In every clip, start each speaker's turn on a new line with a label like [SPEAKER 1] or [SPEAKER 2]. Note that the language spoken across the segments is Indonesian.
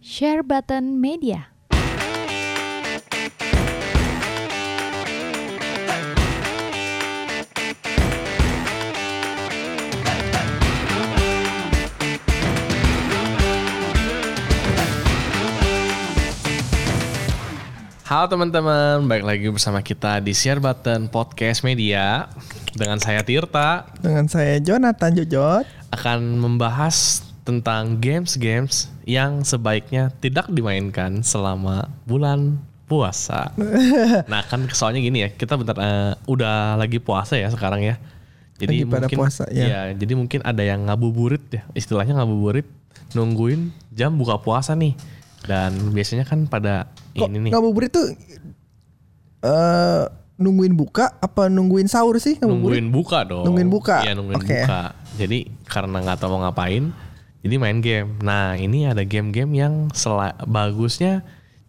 [SPEAKER 1] Share Button Media.
[SPEAKER 2] Halo teman-teman, balik lagi bersama kita di Share Button Podcast Media dengan saya Tirta
[SPEAKER 3] Dengan saya Jonathan Jojot.
[SPEAKER 2] akan membahas tentang games-games yang sebaiknya tidak dimainkan selama bulan puasa. Nah kan soalnya gini ya, kita bentar eh, udah lagi puasa ya sekarang ya. Jadi
[SPEAKER 3] Lagi pada
[SPEAKER 2] mungkin iya,
[SPEAKER 3] puasa, ya.
[SPEAKER 2] jadi mungkin ada yang ngabuburit ya, istilahnya ngabuburit nungguin jam buka puasa nih. Dan biasanya kan pada
[SPEAKER 3] Kok
[SPEAKER 2] ini nih.
[SPEAKER 3] ngabuburit tuh eh nungguin buka apa nungguin sahur sih ngabuburit?
[SPEAKER 2] nungguin buka dong.
[SPEAKER 3] Nungguin buka?
[SPEAKER 2] Iya nungguin
[SPEAKER 3] Oke.
[SPEAKER 2] buka. Jadi karena nggak tahu mau ngapain, jadi main game. Nah ini ada game-game yang sela- bagusnya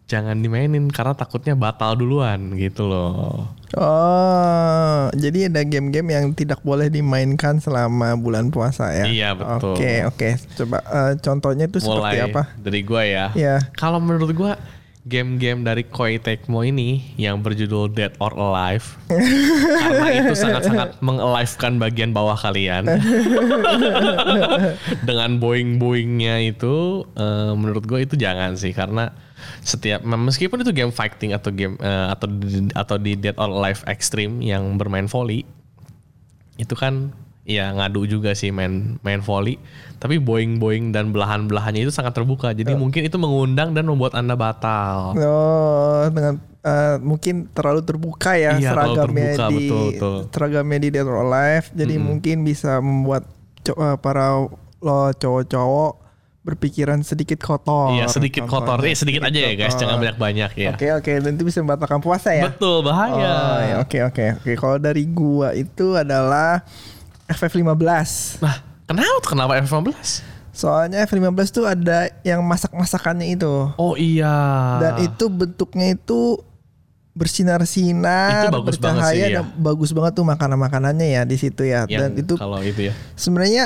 [SPEAKER 2] jangan dimainin karena takutnya batal duluan gitu loh.
[SPEAKER 3] Oh, jadi ada game-game yang tidak boleh dimainkan selama bulan puasa ya?
[SPEAKER 2] Iya, betul.
[SPEAKER 3] Oke oke, coba eh, contohnya itu seperti
[SPEAKER 2] Mulai
[SPEAKER 3] apa?
[SPEAKER 2] dari gua ya.
[SPEAKER 3] Iya.
[SPEAKER 2] Kalau menurut gua game-game dari Koei Tecmo ini yang berjudul Dead or Alive karena itu sangat-sangat mengelivekan bagian bawah kalian dengan boing-boingnya itu eh, menurut gue itu jangan sih karena setiap meskipun itu game fighting atau game eh, atau di, atau di Dead or Alive Extreme yang bermain volley itu kan ya ngadu juga sih main main volley tapi boing-boing dan belahan-belahannya itu sangat terbuka jadi
[SPEAKER 3] Ya.
[SPEAKER 2] mungkin itu mengundang dan membuat anda batal
[SPEAKER 3] Oh, dengan eh, mungkin terlalu terbuka ya
[SPEAKER 2] Iya, terlalu
[SPEAKER 3] seragamnya
[SPEAKER 2] terbuka,
[SPEAKER 3] di
[SPEAKER 2] betul, betul.
[SPEAKER 3] seragamnya di Dead or Alive. Jadi mungkin bisa membuat co- eh, para lo cowok-cowok berpikiran sedikit kotor.
[SPEAKER 2] Iya sedikit kotor,
[SPEAKER 3] Contohnya
[SPEAKER 2] eh sedikit aja ya guys, jangan banyak-banyak ya.
[SPEAKER 3] Oke oke, nanti bisa membatalkan puasa ya.
[SPEAKER 2] Betul Iya.
[SPEAKER 3] Oh,
[SPEAKER 2] bahaya.
[SPEAKER 3] ya, Oke oke oke. Kalau dari gua itu adalah FF15.
[SPEAKER 2] Nah, kenapa tuh? kenapa F15?
[SPEAKER 3] Soalnya FF15 tuh ada yang masak-masakannya itu.
[SPEAKER 2] Oh iya.
[SPEAKER 3] dan itu bentuknya itu bersinar-sinar,
[SPEAKER 2] Itu bagus banget
[SPEAKER 3] bercahaya
[SPEAKER 2] sih, iya.
[SPEAKER 3] dan bagus banget tuh makanan-makanannya ya di situ ya.
[SPEAKER 2] Yang
[SPEAKER 3] dan itu
[SPEAKER 2] kalau itu ya.
[SPEAKER 3] sebenarnya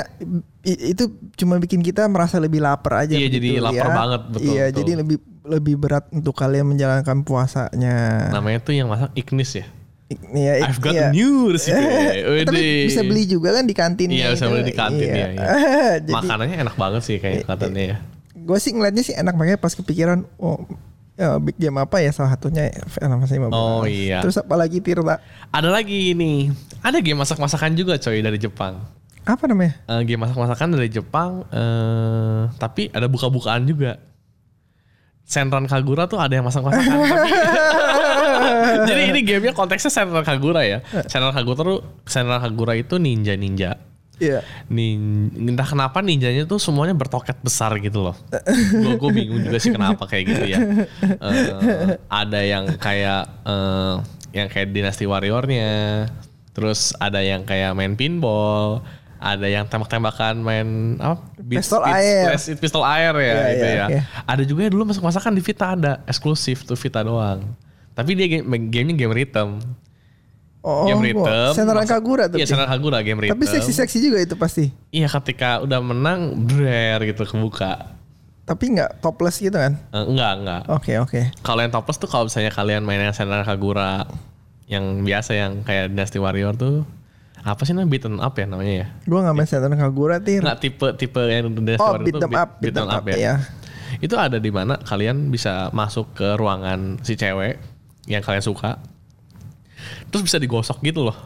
[SPEAKER 3] i- itu cuma bikin kita merasa lebih lapar aja.
[SPEAKER 2] Iya, jadi lapar banget, betul,
[SPEAKER 3] Iya,
[SPEAKER 2] betul.
[SPEAKER 3] jadi lebih lebih berat untuk kalian menjalankan puasanya.
[SPEAKER 2] Namanya tuh yang masak Ignis ya.
[SPEAKER 3] I- Iya, i-
[SPEAKER 2] Nah, I've got
[SPEAKER 3] iya.
[SPEAKER 2] news gitu. ya.
[SPEAKER 3] Eh, Tapi
[SPEAKER 2] Wede.
[SPEAKER 3] bisa beli juga kan di kantin
[SPEAKER 2] Iya, bisa beli di kantin ya.
[SPEAKER 3] jadi Eh, iya.
[SPEAKER 2] Makanannya enak banget sih kayak katanya ya.
[SPEAKER 3] gue sih ngeliatnya sih enak makanya pas kepikiran oh ya, big game apa ya salah satunya FF15.
[SPEAKER 2] Oh, iya.
[SPEAKER 3] Terus apalagi Tirta?
[SPEAKER 2] Ada lagi ini. Ada game masak-masakan juga coy dari Jepang.
[SPEAKER 3] Apa namanya?
[SPEAKER 2] Eh, game masak-masakan dari Jepang eh tapi ada buka-bukaan juga. Senran Kagura tuh ada yang masak-masakan tapi Jadi ini gamenya konteksnya Senran Kagura ya.
[SPEAKER 3] Eh.
[SPEAKER 2] Senran Kagura tuh Senran Kagura itu ninja-ninja.
[SPEAKER 3] Iya.
[SPEAKER 2] Nin, entah kenapa ninjanya tuh semuanya bertoket besar gitu loh. Gue gue bingung juga sih kenapa kayak gitu ya. Eh, ada yang kayak eh, yang kayak dinasti warriornya, terus ada yang kayak main pinball, ada yang tembak-tembakan main apa?
[SPEAKER 3] Pistol air.
[SPEAKER 2] flash- pistol air ya
[SPEAKER 3] Iya,
[SPEAKER 2] gitu
[SPEAKER 3] iya,
[SPEAKER 2] ya.
[SPEAKER 3] iya.
[SPEAKER 2] Ada juga yang dulu masuk masakan di Vita ada eksklusif tuh Vita doang. Tapi dia game, gamenya game rhythm.
[SPEAKER 3] Oh,
[SPEAKER 2] game
[SPEAKER 3] gua-
[SPEAKER 2] rhythm.
[SPEAKER 3] Senran
[SPEAKER 2] masak-
[SPEAKER 3] Kagura tuh.
[SPEAKER 2] Iya,
[SPEAKER 3] Pi.
[SPEAKER 2] Senran Kagura game rhythm.
[SPEAKER 3] Tapi seksi-seksi juga itu pasti.
[SPEAKER 2] Iya ketika udah menang brer gitu kebuka.
[SPEAKER 3] Tapi nggak topless gitu kan?
[SPEAKER 2] Eh, enggak enggak.
[SPEAKER 3] Oke oke.
[SPEAKER 2] Kalau yang topless tuh kalau misalnya kalian main yang Senran Kagura yang biasa yang kayak Dynasty Warrior tuh apa sih namanya beaten up ya namanya ya?
[SPEAKER 3] Gua nggak main Senran Kagura tir.
[SPEAKER 2] Enggak tipe tipe yang Dynasty
[SPEAKER 3] Oh
[SPEAKER 2] Warrior
[SPEAKER 3] beat
[SPEAKER 2] tuh
[SPEAKER 3] them
[SPEAKER 2] beat-
[SPEAKER 3] up, beat them up, ya.
[SPEAKER 2] Itu ada di mana kalian bisa masuk ke ruangan si cewek yang kalian suka. Terus bisa digosok gitu loh.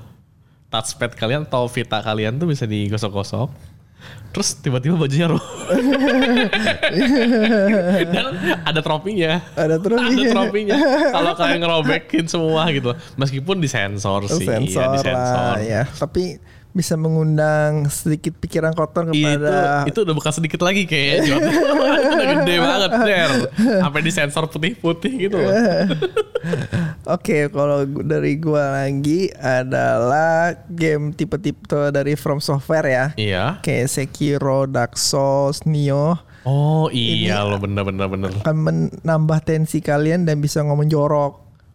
[SPEAKER 2] Touchpad kalian atau Vita kalian tuh bisa digosok-gosok. Terus tiba-tiba bajunya roh. Dan ada tropinya.
[SPEAKER 3] Ada tropinya.
[SPEAKER 2] Ada tropinya. Kalau kalian ngerobekin semua gitu. Meskipun disensor sih. iya,
[SPEAKER 3] Sensor
[SPEAKER 2] disensor.
[SPEAKER 3] lah ya. Tapi bisa mengundang sedikit pikiran kotor
[SPEAKER 2] Iya,
[SPEAKER 3] kepada
[SPEAKER 2] itu itu udah bekas sedikit lagi kayaknya Jon. itu udah gede banget der sampai di sensor putih-putih gitu loh
[SPEAKER 3] Oke, kalau gu- dari gua lagi adalah game tipe-tipe dari From Software ya.
[SPEAKER 2] iya
[SPEAKER 3] Kayak Sekiro, Dark Souls, Nioh
[SPEAKER 2] oh iya lo bener-bener bener
[SPEAKER 3] akan menambah tensi kalian dan bisa ngomong jorok.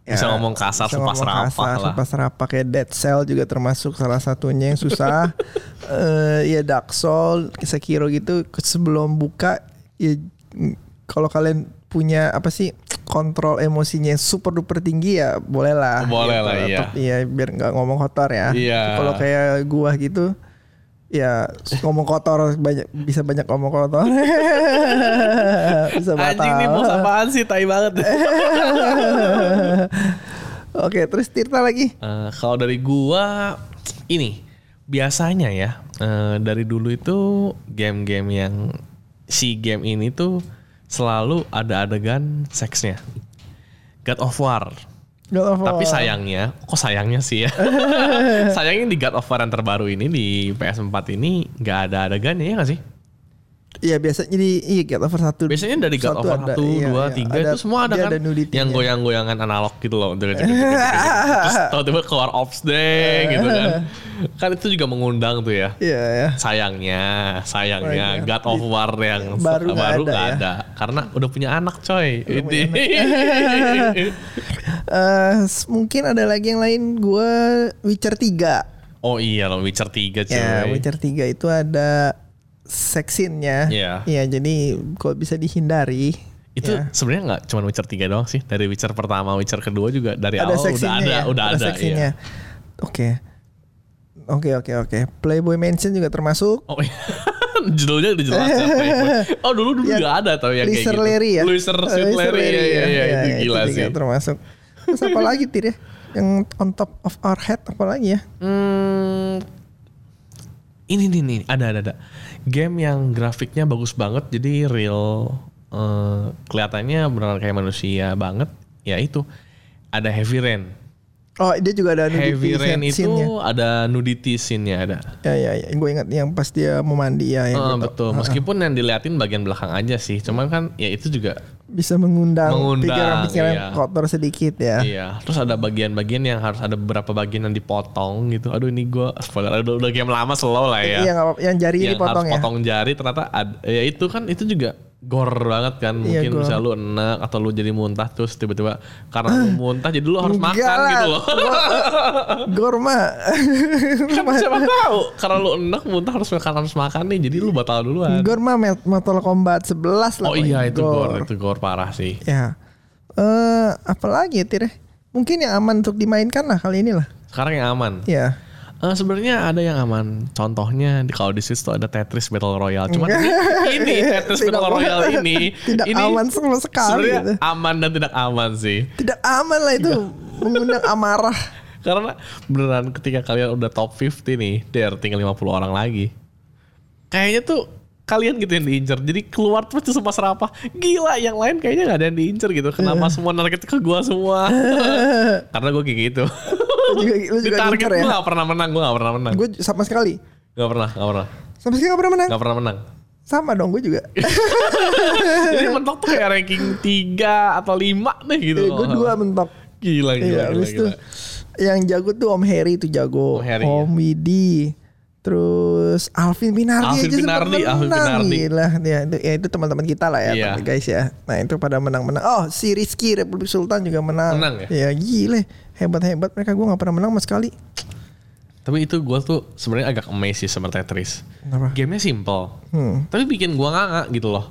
[SPEAKER 3] Ya.
[SPEAKER 2] Bisa ngomong kasar, sumpah serapak lah.
[SPEAKER 3] sumpah serapak. Kayak Dead Cell juga termasuk salah satunya yang susah. Eh ya Dark Souls, Sekiro gitu sebelum buka ya mm, kalau kalian punya apa sih kontrol emosinya yang super duper tinggi ya bolehlah.
[SPEAKER 2] Boleh
[SPEAKER 3] Gitu.
[SPEAKER 2] lah, iya.
[SPEAKER 3] Tapi ya biar nggak ngomong kotor ya.
[SPEAKER 2] Iya.
[SPEAKER 3] Kalau kayak gua gitu ya ngomong kotor banyak bisa banyak ngomong kotor. bisa
[SPEAKER 2] Anjing nih bos
[SPEAKER 3] batal.
[SPEAKER 2] apaan sih tai banget.
[SPEAKER 3] Oke, terus Tirta lagi.
[SPEAKER 2] Eh, kalau dari gua ini biasanya ya eh, dari dulu itu game-game yang si game ini tuh selalu ada adegan seksnya. God of War.
[SPEAKER 3] God of
[SPEAKER 2] Tapi
[SPEAKER 3] War.
[SPEAKER 2] sayangnya, kok sayangnya sih ya. sayangnya di God of War yang terbaru ini di PS4 ini nggak ada adegannya ya nggak sih?
[SPEAKER 3] Iya biasanya jadi iya God of War satu.
[SPEAKER 2] Biasanya dari God of
[SPEAKER 3] satu
[SPEAKER 2] War
[SPEAKER 3] ada,
[SPEAKER 2] 1, 2,
[SPEAKER 3] iya, iya.
[SPEAKER 2] 3 itu semua ada
[SPEAKER 3] dia
[SPEAKER 2] kan
[SPEAKER 3] Ada ya. nudity.
[SPEAKER 2] yang goyang-goyangan analog gitu loh. Terus tiba-tiba keluar ops deh gitu kan. Kan itu juga mengundang tuh ya.
[SPEAKER 3] Iya ya.
[SPEAKER 2] Sayangnya, sayangnya God of War yang
[SPEAKER 3] Baru nggak ada
[SPEAKER 2] nggak
[SPEAKER 3] ya.
[SPEAKER 2] ada, karena udah punya anak coy. Ini.
[SPEAKER 3] Eh, s- mungkin ada lagi yang lain gue Witcher 3.
[SPEAKER 2] oh iya loh Witcher 3 coy.
[SPEAKER 3] Ya, Witcher 3 itu ada seksinnya.
[SPEAKER 2] Iya.
[SPEAKER 3] Iya, jadi kalau bisa dihindari.
[SPEAKER 2] itu
[SPEAKER 3] ya.
[SPEAKER 2] sebenarnya nggak cuma Witcher 3 doang sih. Dari Witcher pertama, Witcher kedua juga dari awal
[SPEAKER 3] Ada
[SPEAKER 2] udah
[SPEAKER 3] seksinya
[SPEAKER 2] ada,
[SPEAKER 3] ya.
[SPEAKER 2] udah ada.
[SPEAKER 3] seksinya.
[SPEAKER 2] iya.
[SPEAKER 3] Oke. Oke, oke, oke. Playboy Mansion juga termasuk.
[SPEAKER 2] Oh iya. Judulnya udah jelas ya, Playboy. Oh dulu dulu
[SPEAKER 3] Yang
[SPEAKER 2] nggak ada tau yang kayak
[SPEAKER 3] Lister
[SPEAKER 2] gitu.
[SPEAKER 3] Larry ya.
[SPEAKER 2] Lister
[SPEAKER 3] Eh,
[SPEAKER 2] Sweet
[SPEAKER 3] Lister
[SPEAKER 2] Larry. Iya, iya, iya, itu gila
[SPEAKER 3] juga
[SPEAKER 2] sih.
[SPEAKER 3] termasuk. Terus apa lagi Tir ya? Yang on top of our head apa lagi ya?
[SPEAKER 2] Hmm, ini nih nih ada ada ada. Game yang grafiknya bagus banget jadi real eh, kelihatannya benar kayak manusia banget. Ya itu ada Heavy Rain.
[SPEAKER 3] Oh, dia juga ada
[SPEAKER 2] Heavy
[SPEAKER 3] nudity
[SPEAKER 2] Rain
[SPEAKER 3] scene-
[SPEAKER 2] itu
[SPEAKER 3] scene-nya.
[SPEAKER 2] ada nudity scene-nya ada.
[SPEAKER 3] Ya ya, ya. gue ingat yang pas dia mau mandi ya,
[SPEAKER 2] Eh,
[SPEAKER 3] yang gitu.
[SPEAKER 2] betul. Meskipun yang diliatin bagian belakang aja sih. Cuman kan ya itu juga
[SPEAKER 3] bisa mengundang
[SPEAKER 2] Mengundang,
[SPEAKER 3] pikiran-pikiran
[SPEAKER 2] iya.
[SPEAKER 3] kotor sedikit ya.
[SPEAKER 2] Iya, terus ada bagian-bagian yang harus ada beberapa bagian yang dipotong gitu. Aduh ini gua spoiler, udah, udah game lama slow lah ya.
[SPEAKER 3] Iya, nggak apa- yang jari
[SPEAKER 2] yang
[SPEAKER 3] dipotong
[SPEAKER 2] harus
[SPEAKER 3] ya.
[SPEAKER 2] potong jari ternyata ad- ya itu kan itu juga gor banget kan
[SPEAKER 3] Iya,
[SPEAKER 2] mungkin
[SPEAKER 3] gore.
[SPEAKER 2] bisa lu enak atau lu jadi muntah terus tiba-tiba karena lu muntah jadi lu harus
[SPEAKER 3] Ah, Enggak
[SPEAKER 2] makan
[SPEAKER 3] lah.
[SPEAKER 2] gitu loh
[SPEAKER 3] Gorma.
[SPEAKER 2] kan siapa tahu karena lu enak muntah harus makan harus makan nih jadi lu batal duluan
[SPEAKER 3] Gorma Met- Mortal Kombat 11 lah.
[SPEAKER 2] oh
[SPEAKER 3] Pak.
[SPEAKER 2] iya itu
[SPEAKER 3] Gor.
[SPEAKER 2] gor itu gor parah sih
[SPEAKER 3] Ya. Eh, apalagi ya, Tir? Mungkin yang aman untuk dimainkan lah kali ini lah.
[SPEAKER 2] sekarang yang aman
[SPEAKER 3] Ya.
[SPEAKER 2] Eh, sebenarnya ada yang aman. Contohnya di kalau di Switch tuh ada Tetris Battle Royale. Cuman ini, ini Tetris
[SPEAKER 3] Tidak
[SPEAKER 2] Battle
[SPEAKER 3] aman.
[SPEAKER 2] Royale ini
[SPEAKER 3] Tidak
[SPEAKER 2] ini
[SPEAKER 3] aman sama sekali
[SPEAKER 2] sebenarnya
[SPEAKER 3] gitu.
[SPEAKER 2] aman dan tidak aman sih.
[SPEAKER 3] Tidak aman lah itu mengundang amarah.
[SPEAKER 2] Karena beneran ketika kalian udah top 50 nih, der tinggal 50 orang lagi. Kayaknya tuh kalian gitu yang diincer. Jadi keluar terus tuh semua serapah. Gila, yang lain kayaknya nggak ada yang diincer gitu. Kenapa
[SPEAKER 3] Eh.
[SPEAKER 2] semua narket ke gua semua? Karena gue kayak gitu.
[SPEAKER 3] Lu juga, lu
[SPEAKER 2] Di
[SPEAKER 3] juga
[SPEAKER 2] target gue
[SPEAKER 3] ngincer ya.
[SPEAKER 2] gak pernah menang, gue gak pernah menang.
[SPEAKER 3] Gue sama sekali.
[SPEAKER 2] Gak pernah, gak pernah.
[SPEAKER 3] Sama sekali gak pernah menang.
[SPEAKER 2] Gak pernah menang.
[SPEAKER 3] Sama dong gue juga.
[SPEAKER 2] Jadi mentok tuh kayak ranking 3 atau 5 deh gitu.
[SPEAKER 3] Eh, gue dua mentok.
[SPEAKER 2] Gila, gila,
[SPEAKER 3] Iya,
[SPEAKER 2] gila,
[SPEAKER 3] habis
[SPEAKER 2] gila.
[SPEAKER 3] tuh yang jago tuh Om Heri tuh jago,
[SPEAKER 2] Om Heri, iya.
[SPEAKER 3] Om Widi, terus Alvin Pinardi
[SPEAKER 2] Alvin
[SPEAKER 3] aja sempat
[SPEAKER 2] Pinardi,
[SPEAKER 3] menang.
[SPEAKER 2] Alvin Pinardi.
[SPEAKER 3] Gila, ya itu, ya itu teman-teman kita lah ya,
[SPEAKER 2] Iya.
[SPEAKER 3] teman guys ya. Nah itu pada menang-menang. Oh si Rizky Republik Sultan juga menang.
[SPEAKER 2] Menang ya?
[SPEAKER 3] Iya gile, hebat-hebat mereka gue nggak pernah menang mas sekali.
[SPEAKER 2] Tapi itu gue tuh sebenarnya agak amazed sih sama Tetris.
[SPEAKER 3] Kenapa?
[SPEAKER 2] Gamenya simple.
[SPEAKER 3] Hmm.
[SPEAKER 2] Tapi bikin gua nganga gitu loh.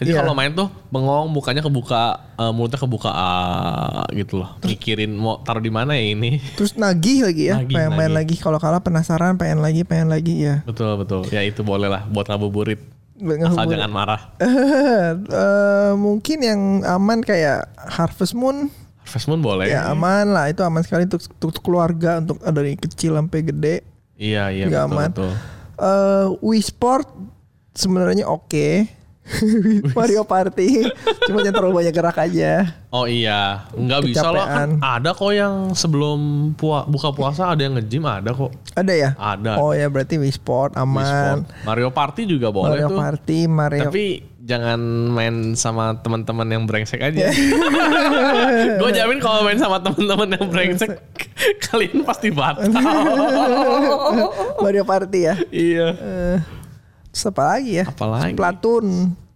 [SPEAKER 2] Jadi
[SPEAKER 3] Iya.
[SPEAKER 2] kalau main tuh bengong mukanya kebuka eh, mulutnya kebuka ah, gitu loh. Mikirin mau taruh di mana ya ini.
[SPEAKER 3] Terus nagih lagi ya,
[SPEAKER 2] Nagih,
[SPEAKER 3] pengen main
[SPEAKER 2] nagih.
[SPEAKER 3] lagi. Kalau kalah penasaran, pengen lagi, pengen lagi ya.
[SPEAKER 2] Betul betul. Ya itu boleh lah buat ngabuburit. Asal
[SPEAKER 3] Ngehuburin.
[SPEAKER 2] jangan marah.
[SPEAKER 3] Eh, mungkin yang aman kayak Harvest Moon.
[SPEAKER 2] Harvest Moon boleh.
[SPEAKER 3] Ya aman lah, itu aman sekali untuk, untuk keluarga, untuk dari kecil sampai gede.
[SPEAKER 2] Iya iya
[SPEAKER 3] Nggak
[SPEAKER 2] betul
[SPEAKER 3] aman.
[SPEAKER 2] betul.
[SPEAKER 3] eh Wii Sport sebenarnya oke. Mario Party, cuma jangan terlalu banyak gerak aja.
[SPEAKER 2] Oh iya, nggak bisa loh. Kan
[SPEAKER 3] Kecapean.
[SPEAKER 2] ada kok yang sebelum pua- buka puasa ada yang nge-gym ada kok.
[SPEAKER 3] Ada ya?
[SPEAKER 2] Ada.
[SPEAKER 3] Oh ya berarti Wii Sport
[SPEAKER 2] Wii Sport.
[SPEAKER 3] aman.
[SPEAKER 2] Mario Party juga boleh
[SPEAKER 3] Mario
[SPEAKER 2] tuh.
[SPEAKER 3] Party, Mario.
[SPEAKER 2] Tapi jangan main sama teman-teman yang brengsek aja. Gue jamin kalau main sama teman-teman yang brengsek, kalian pasti batal.
[SPEAKER 3] Mario Party ya.
[SPEAKER 2] iya.
[SPEAKER 3] Terus apa lagi ya?
[SPEAKER 2] Apalagi
[SPEAKER 3] Platoon,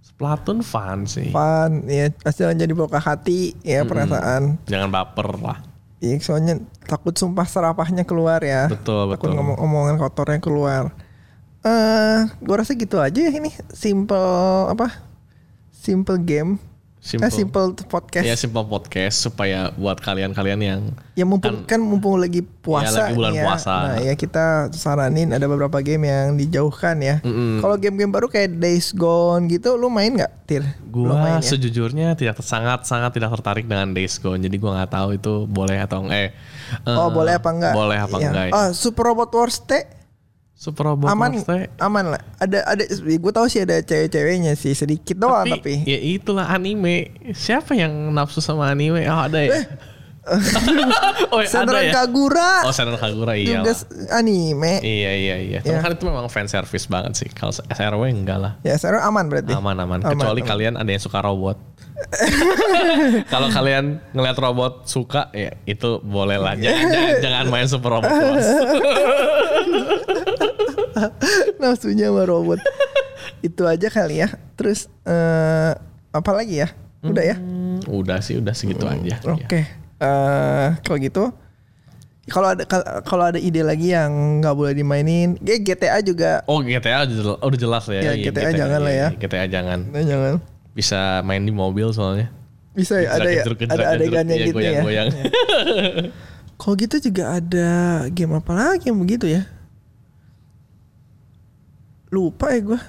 [SPEAKER 2] Splatoon fun sih.
[SPEAKER 3] fun, ya pasti jangan jadi buka hati ya perasaan.
[SPEAKER 2] Jangan baper lah.
[SPEAKER 3] Iya, soalnya takut sumpah serapahnya keluar ya.
[SPEAKER 2] Betul,
[SPEAKER 3] takut
[SPEAKER 2] betul.
[SPEAKER 3] ngomong omongan kotornya keluar. Eh, gua rasa gitu aja ya ini simple apa? simple game,
[SPEAKER 2] Simple.
[SPEAKER 3] eh simple podcast.
[SPEAKER 2] Ya simple podcast supaya buat kalian-kalian yang
[SPEAKER 3] Ya mumpung kan, mumpung lagi
[SPEAKER 2] Ya,
[SPEAKER 3] puasa
[SPEAKER 2] lagi bulan
[SPEAKER 3] nih ya.
[SPEAKER 2] puasa.
[SPEAKER 3] Nah, ya kita saranin ada beberapa game yang dijauhkan ya. Kalau game-game baru kayak Days Gone gitu lu main nggak, Tir?
[SPEAKER 2] gua
[SPEAKER 3] Belum main ya.
[SPEAKER 2] sejujurnya tidak sangat sangat tidak tertarik dengan Days Gone. Jadi gua nggak tahu itu boleh atau eh eh,
[SPEAKER 3] Oh, boleh apa enggak?
[SPEAKER 2] Boleh apa
[SPEAKER 3] Iya.
[SPEAKER 2] enggak? ya.
[SPEAKER 3] Oh, Super Robot Wars T
[SPEAKER 2] Super Robot
[SPEAKER 3] aman
[SPEAKER 2] Wars teh.
[SPEAKER 3] aman lah. Ada ada gue tahu sih ada cewek-ceweknya sih sedikit doang tapi.
[SPEAKER 2] ya itulah anime. Siapa yang nafsu sama anime? Oh, ada ya. oh, ya, ada
[SPEAKER 3] Senran
[SPEAKER 2] ya.
[SPEAKER 3] Eh. Kagura
[SPEAKER 2] Oh, Senran Kagura iya.
[SPEAKER 3] juga anime.
[SPEAKER 2] Iya iya iya. Tapi
[SPEAKER 3] Iya.
[SPEAKER 2] kan itu memang fan service banget sih. Kalau SRW enggak lah.
[SPEAKER 3] Ya, seru aman berarti.
[SPEAKER 2] Iya. Aman aman.
[SPEAKER 3] Aman,
[SPEAKER 2] Kecuali
[SPEAKER 3] aman.
[SPEAKER 2] kalian ada yang suka robot. Kalau kalian ngeliat robot suka ya itu boleh lah.
[SPEAKER 3] Iya.
[SPEAKER 2] Jangan, jangan, jangan main super robot Wars.
[SPEAKER 3] Nafsunya sama robot. Itu aja kali ya. Terus eh apa lagi ya? Udah ya.
[SPEAKER 2] Hmm, udah sih udah segitu aja.
[SPEAKER 3] Oke.
[SPEAKER 2] Ya.
[SPEAKER 3] Eh, kalau gitu kalau ada kal- kalau ada ide lagi yang nggak boleh dimainin, ya GTA juga.
[SPEAKER 2] Oh GTA udah jel- udah jelas lah ya.
[SPEAKER 3] Ya,
[SPEAKER 2] Iya,
[SPEAKER 3] GTA jangan lah ya.
[SPEAKER 2] iya, GTA jangan.
[SPEAKER 3] Nah, jangan.
[SPEAKER 2] Bisa main di mobil soalnya.
[SPEAKER 3] Bisa ya ada ya
[SPEAKER 2] Jedruk-jedruk,
[SPEAKER 3] ada
[SPEAKER 2] jedruk-jedruk.
[SPEAKER 3] adegannya
[SPEAKER 2] Iya,
[SPEAKER 3] gitu ya.
[SPEAKER 2] goyang-goyang.
[SPEAKER 3] Kalau gitu juga ada game apa lagi yang begitu ya? Lupa ya gue.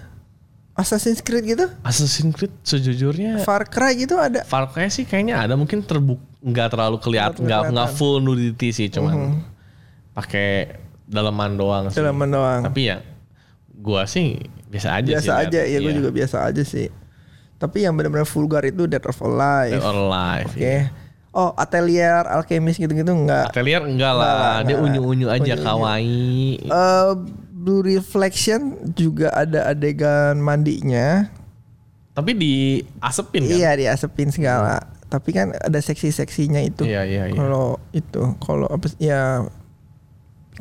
[SPEAKER 3] Assassin's Creed gitu,
[SPEAKER 2] Assassin's Creed sejujurnya
[SPEAKER 3] Far Cry gitu ada.
[SPEAKER 2] Far Cry sih kayaknya ada mungkin terbuk nggak terlalu kelihatan
[SPEAKER 3] Nggak
[SPEAKER 2] nggak nggak
[SPEAKER 3] kelihatan. Mm-hmm.
[SPEAKER 2] full nudity sih cuman pakai daleman doang sih.
[SPEAKER 3] Dalam doang.
[SPEAKER 2] Tapi ya gua sih biasa aja sih.
[SPEAKER 3] biasa
[SPEAKER 2] lihat.
[SPEAKER 3] aja ya gue
[SPEAKER 2] Iya.
[SPEAKER 3] juga biasa aja sih. Tapi yang benar-benar vulgar itu Dead or Alive.
[SPEAKER 2] Dead or Alive. iya.
[SPEAKER 3] Oke. Oh, Atelier, Alchemist gitu-gitu enggak.
[SPEAKER 2] Atelier enggak
[SPEAKER 3] Enggak lah,
[SPEAKER 2] lah, dia
[SPEAKER 3] enggak lah.
[SPEAKER 2] unyu-unyu aja
[SPEAKER 3] Unyu-unyu.
[SPEAKER 2] kawaii.
[SPEAKER 3] Eh, Blue Reflection juga ada adegan mandinya.
[SPEAKER 2] Tapi diasepin kan? Hmm.
[SPEAKER 3] Iya, diasepin segala. Tapi kan ada seksi-seksinya itu.
[SPEAKER 2] Iya, iya, iya.
[SPEAKER 3] Kalau itu, kalau apa sih- ya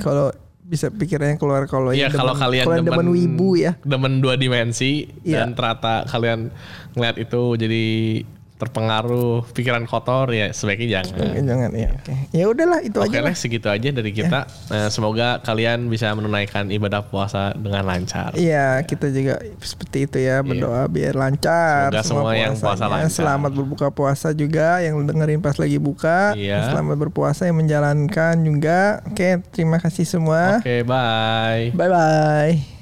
[SPEAKER 3] kalau bisa pikirannya keluar kalau
[SPEAKER 2] Iya,
[SPEAKER 3] yang
[SPEAKER 2] kalau
[SPEAKER 3] demen-
[SPEAKER 2] kalian
[SPEAKER 3] kalau yang demen wibu ya.
[SPEAKER 2] Demen dua dimensi
[SPEAKER 3] Iya.
[SPEAKER 2] dan ternyata kalian ngeliat itu jadi terpengaruh pikiran kotor ya sebaiknya jangan.
[SPEAKER 3] Eh, Jangan ya. Oke. Ya udahlah itu
[SPEAKER 2] Iya. Oke
[SPEAKER 3] aja. Ya.
[SPEAKER 2] lah segitu aja dari kita. Eh, semoga kalian bisa menunaikan ibadah puasa dengan lancar.
[SPEAKER 3] Iya, kita juga seperti itu ya berdoa biar lancar.
[SPEAKER 2] Iya. Semoga semua yang puasa
[SPEAKER 3] puasanya.
[SPEAKER 2] lancar.
[SPEAKER 3] Selamat berbuka puasa juga yang lu dengerin pas lagi buka.
[SPEAKER 2] Iya.
[SPEAKER 3] Selamat berpuasa yang menjalankan juga. Oke, terima kasih semua.
[SPEAKER 2] Oke, bye.
[SPEAKER 3] Bye bye.